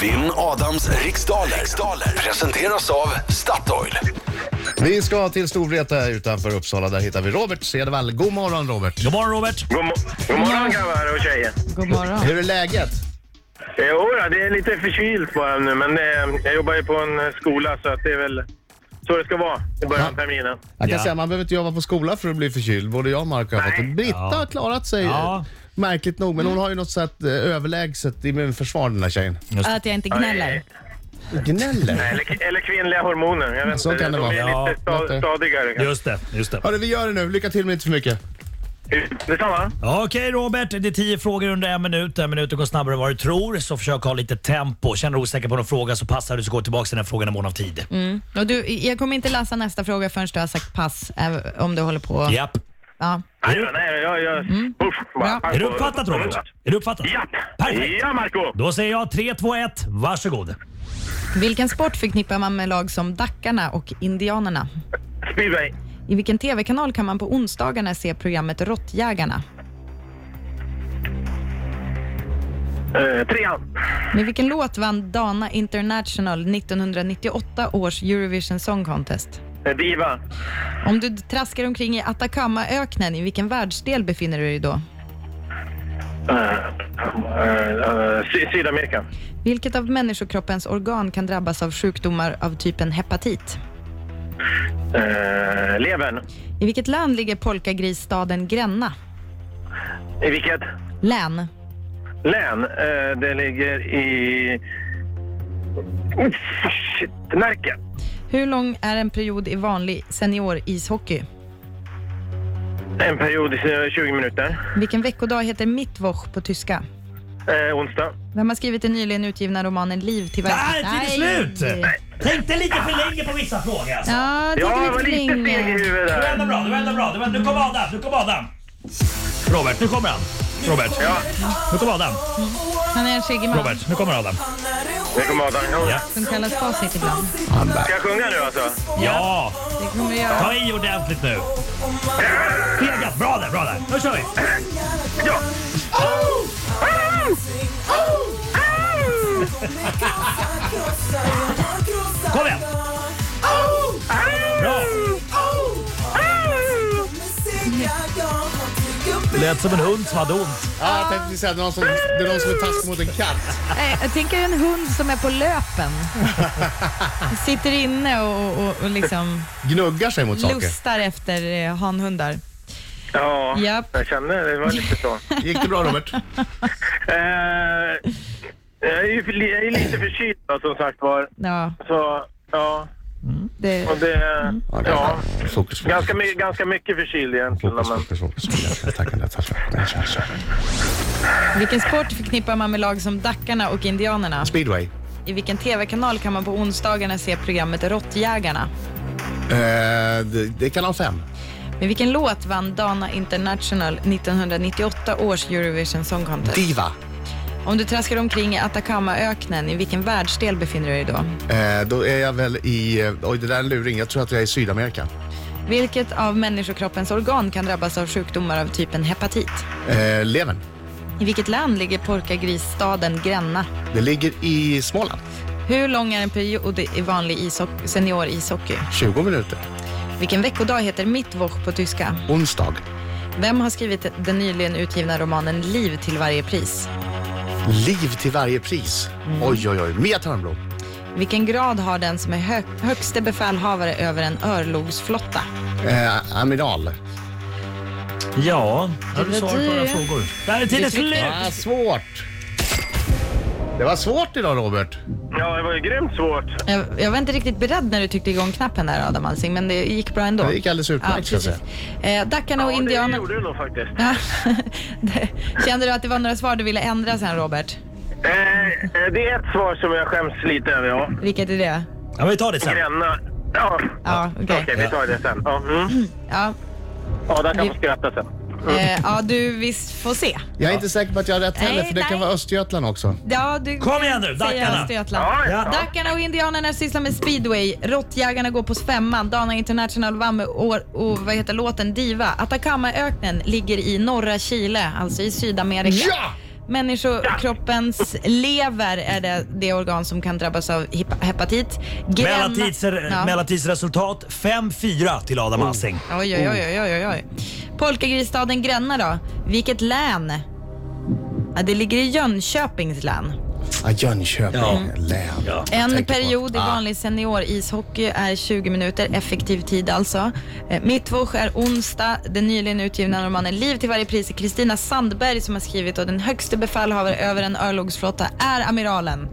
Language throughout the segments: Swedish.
Vinn Adams riksdaler. riksdaler presenteras av Statoil. Vi ska till Storvreta utanför Uppsala. Där hittar vi Robert Cedervall. God morgon Robert. God morgon Robert! God, mo- God morgon grabbar och tjejer. Eh, God morgon. Hur är läget? Jo, då, det är lite förkylt bara nu, men eh, jag jobbar ju på en eh, skola så att det är väl så det ska vara i början av terminen. Jag kan Ja. säga man behöver inte jobba på skola för att bli förkyld. Både jag och Marco har fått det. Britta Ja. har klarat sig Ja. eh, märkligt nog. Men hon har ju något sätt eh, överlägset immunförsvar den här tjejen. Att jag inte gnäller. Gnäller. Eller, eller kvinnliga hormoner. Jag vet Så inte, kan det de vara. är Ja, lite sta- låt det. stadigare. kanske. Just det, just det. Hörru, vi gör det nu. Lycka till men inte för mycket. Detsamma. Okej Robert, det är tio frågor under en minut. En minut går snabbare än vad du tror, så försök ha lite tempo. Känner du osäker på någon fråga så passar du så går tillbaka till den här frågan i mån av tid. Och du, jag kommer inte läsa nästa fråga förrän du har sagt pass, äv- om du håller på. Japp. Ja. Nej, då, nej, då, jag... jag uff, bara, Bra. Mm. Är du uppfattat Robert? Är du uppfattat? Ja! Perfekt. Ja, Marco! Då säger jag 3, 2, 1, varsågod. Vilken sport förknippar man med lag som Dackarna och Indianerna? Speedway. I vilken TV-kanal kan man på onsdagarna se programmet Råttjägarna? Eh, trean. Med vilken låt vann Dana International 1998 års Eurovision Song Contest? Eh, Diva. Om du traskar omkring i Atacamaöknen, i vilken världsdel befinner du dig då? Eh, eh, eh, Sy- Sydamerika. Vilket av människokroppens organ kan drabbas av sjukdomar av typen hepatit? Uh, levern. I vilket land ligger polkagrisstaden Gränna? I vilket Län. län? Eh, det ligger i... Oh, shit. Närke. Hur lång är en period i vanlig seniorishockey? En period i eh, 20 minuter. Vilken veckodag heter Mittwoch på tyska? Eh, onsdag. Vem har skrivit den nyligen utgivna romanen Liv till Där, verket? tid är slut! Tänkte lite för länge på vissa frågor alltså. Ja, det Ja, är det var lite lite steg i länge. huvudet Det var ändå där. bra, det var ändå bra. Det var, nu kom Adam, nu kom Adam. Robert, nu kommer han. Robert. Nu kommer Adam. Han är en skäggig man Robert, nu kommer Adam. Nu kommer Adam. Ja. som kallas facit ibland. Ska jag sjunga nu alltså? Ja, Det kommer jag göra. ta i ordentligt nu. Fegat, bra där, bra där. Nu kör vi. Ja! Kom igen. Bra. Lät som en hund som hade ont. Ja, jag tänkte säga att det är någon som, det är någon som är taskig mot en katt. Nej, Jag tänker en hund som är på löpen. Sitter inne och, och, och liksom Gnuggar sig mot saker. lustar efter eh, hanhundar. Ja, Japp. jag kände det. var lite så. Gick det bra Robert? Eh, jag är ju för- jag är lite förkyld då, som sagt var. Ja, Så, ja. det, Och det... Mm. Ja. Fokus, fokus. Ganska, my- ganska mycket förkyld egentligen. Fokus, Men... fokus, fokus. Tackar, tackar, tackar, tackar. vilken sport förknippar man med lag som Dackarna och Indianerna? Speedway. I vilken TV-kanal kan man på onsdagarna se programmet Råttjägarna? Eh, det, det är kanal 5. Med vilken låt vann Dana International 1998 års Eurovision Song Contest? Diva. Om du traskar omkring i Atacamaöknen, i vilken världsdel befinner du dig då? Eh, då är jag väl i... eh, Oj, det där är en luring. Jag tror att jag är i Sydamerika. Vilket av människokroppens organ kan drabbas av sjukdomar av typen hepatit? Eh, Leven. I vilket land ligger porkagrisstaden Gränna? Det ligger i Småland. Hur lång är en period i vanlig ishock- seniorishockey? 20 minuter. Vilken veckodag heter Mittwoch på tyska? Onsdag. Vem har skrivit den nyligen utgivna romanen Liv till varje pris? Liv till varje pris. Oj, oj, oj. Mia Törnblom. Vilken grad har den som är hö- högste befälhavare över en örlogsflotta? Eh, Aminal. Ja, har du Det svar på blir några det. frågor? Där är tiden slut! Ah, svårt. Det var svårt idag, Robert. Ja, det var ju grymt svårt. Jag, jag var inte riktigt beredd när du tryckte igång knappen där Adam Alsing, men det gick bra ändå. Det gick alldeles utmärkt, ska jag precis. Eh, Dackarna och Ja, det indianerna... gjorde du nog faktiskt. Ja. Det- Kände du att det var några svar du ville ändra sen Robert? Eh, eh, det är ett svar som jag skäms lite över, ja. Vilket är det? Ja, vi tar det sen. Gränna. Ja, Ja, okej. okej, vi tar det sen. Ja, mm. Ja, ja där kan Vi- man skratta sen. eh, ja, du visst får se. Jag är inte säker på att jag har rätt heller, Nej, för det kan nej. vara Östergötland också. Ja, du Kom igen nu, säger Dackarna! Östergötland. Ja, Ja. ja. Dackarna och indianerna sysslar med speedway. Råttjägarna går på femman. Dana International vann med år, och vad heter låten Diva. Atacamaöknen ligger i norra Chile, alltså i Sydamerika. Ja! Människokroppens lever är det, det organ som kan drabbas av hip- hepatit. Gränna- Mellantids, Ja. Mellantids resultat 5-4 till Adam Alsing. Oj, oj, oj, oj, oj, oj. Polkagrisstaden Gränna då? Vilket län? Ja, det ligger i Jönköpings län. Ah, Jönköping Ja. län. Ja. En tänker på. Ah. period i vanlig seniorishockey är 20 minuter, effektiv tid alltså. Eh, Mittwoch är onsdag. Den nyligen utgivna romanen Liv till varje pris är Kristina Sandberg som har skrivit och den högste befälhavare över en örlogsflotta är amiralen.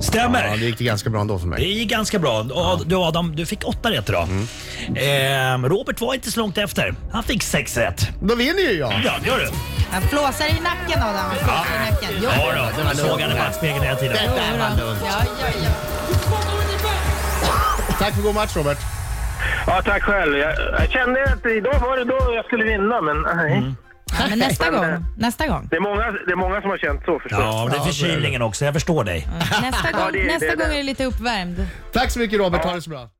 Stämmer! Ja, det gick ganska bra ändå för Det mig. är ganska bra. Och Du Adam, du fick åtta rätt idag. Ehm, Robert var inte så långt efter. Han fick sex rätt. Då vinner ju jag. Ja, det gör du. Han flåsar i nacken Adam. Han flåsar i nacken. Jo, Ja, då. Jag såg han i backspegeln hela tiden. jo då. Ja, ja, ja. Tack för god match Robert. Ja, tack själv. Jag, jag kände att idag var det då jag skulle vinna, men nej. Ja, Men nästa gång, nästa gång. Det, är många, det är många som har känt så förstås. Ja, men det är förkylningen också. Jag förstår dig. Nästa Ja, det gång, är- nästa det är gång det. är det lite uppvärmd. Tack så mycket Robert, ha det så bra.